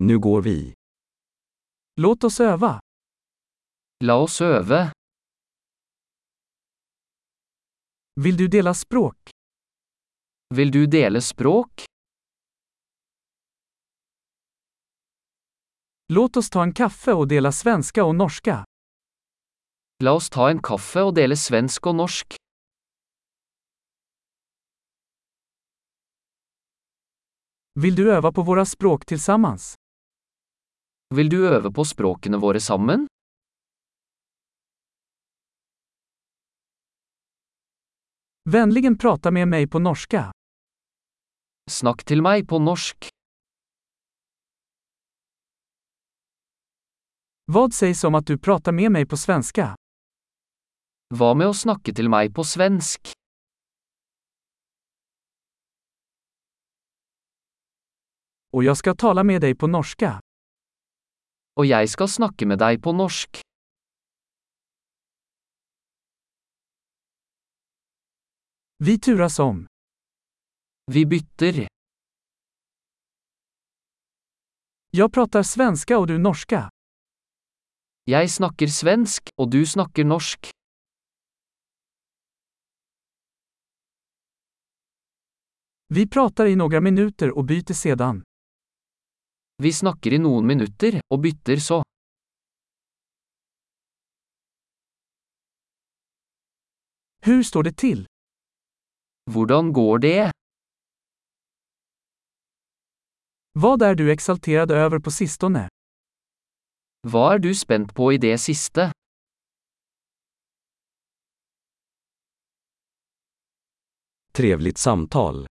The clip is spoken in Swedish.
Nu går vi. Låt oss öva. La oss øve. Vill du dela språk? Vil du dele språk? Låt oss ta en kaffe och dela svenska och norska. La oss ta en kaffe og dele svensk og norsk. Vill du öva på våra språk tillsammans? Vil du øve på språkene våre sammen? Vänligen prata med mig på norska. Snakk til meg på norsk. Vad sägs om att du pratar med mig på svenska? Hva med å snakke til meg på svensk? Och jag ska tala med dig på norska. Og jeg skal snakke med deg på norsk. Vi turas om. Vi bytter. Jag pratar svenska och du norska. Jeg snakker svensk, og du snakker norsk. Vi pratar i några minuter och byter sedan. Vi snakker i noen minutter, og bytter så. Hur står det till? Hvordan går det? Vad är du exalterad över på sistone? Hva er du spent på i det siste? Trevligt samtal.